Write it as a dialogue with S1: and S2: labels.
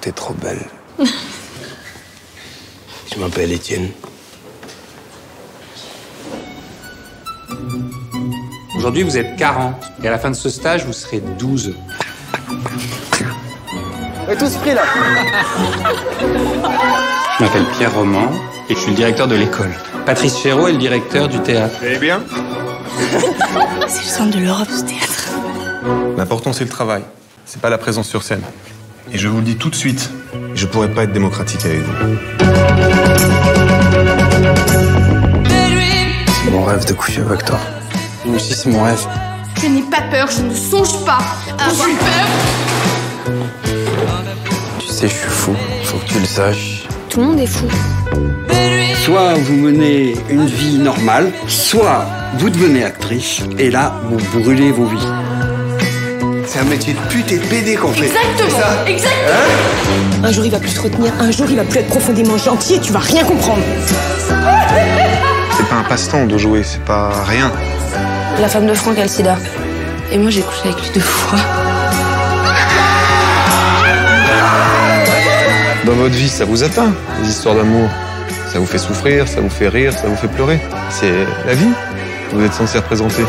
S1: T'es trop belle. Je m'appelle Étienne.
S2: Aujourd'hui, vous êtes 40. Et à la fin de ce stage, vous serez 12.
S3: Et tous pris là
S2: Je m'appelle Pierre Roman et je suis le directeur de l'école. Patrice Chéreau est le directeur du théâtre.
S4: Vous allez bien
S5: C'est le centre de l'Europe, ce théâtre.
S6: L'important, c'est le travail. C'est pas la présence sur scène. Et je vous le dis tout de suite, je pourrais pas être démocratique avec vous.
S1: C'est mon rêve de coucher avec toi.
S2: Moi aussi, c'est mon rêve.
S7: Je n'ai pas peur, je ne songe pas à avoir peur.
S1: Tu sais, je suis fou. Faut que tu le saches.
S5: Tout le monde est fou.
S8: Soit vous menez une vie normale, soit vous devenez actrice, et là, vous brûlez vos vies.
S3: C'est un métier de pute et de BD qu'on fait.
S7: Exactement, exactement.
S9: Un jour il va plus te retenir, un jour il va plus être profondément gentil et tu vas rien comprendre.
S6: C'est pas un passe-temps de jouer, c'est pas rien.
S5: La femme de Franck a le sida. Et moi, j'ai couché avec lui deux fois.
S6: Dans votre vie, ça vous atteint, les histoires d'amour. Ça vous fait souffrir, ça vous fait rire, ça vous fait pleurer. C'est la vie. Vous êtes censé représenter.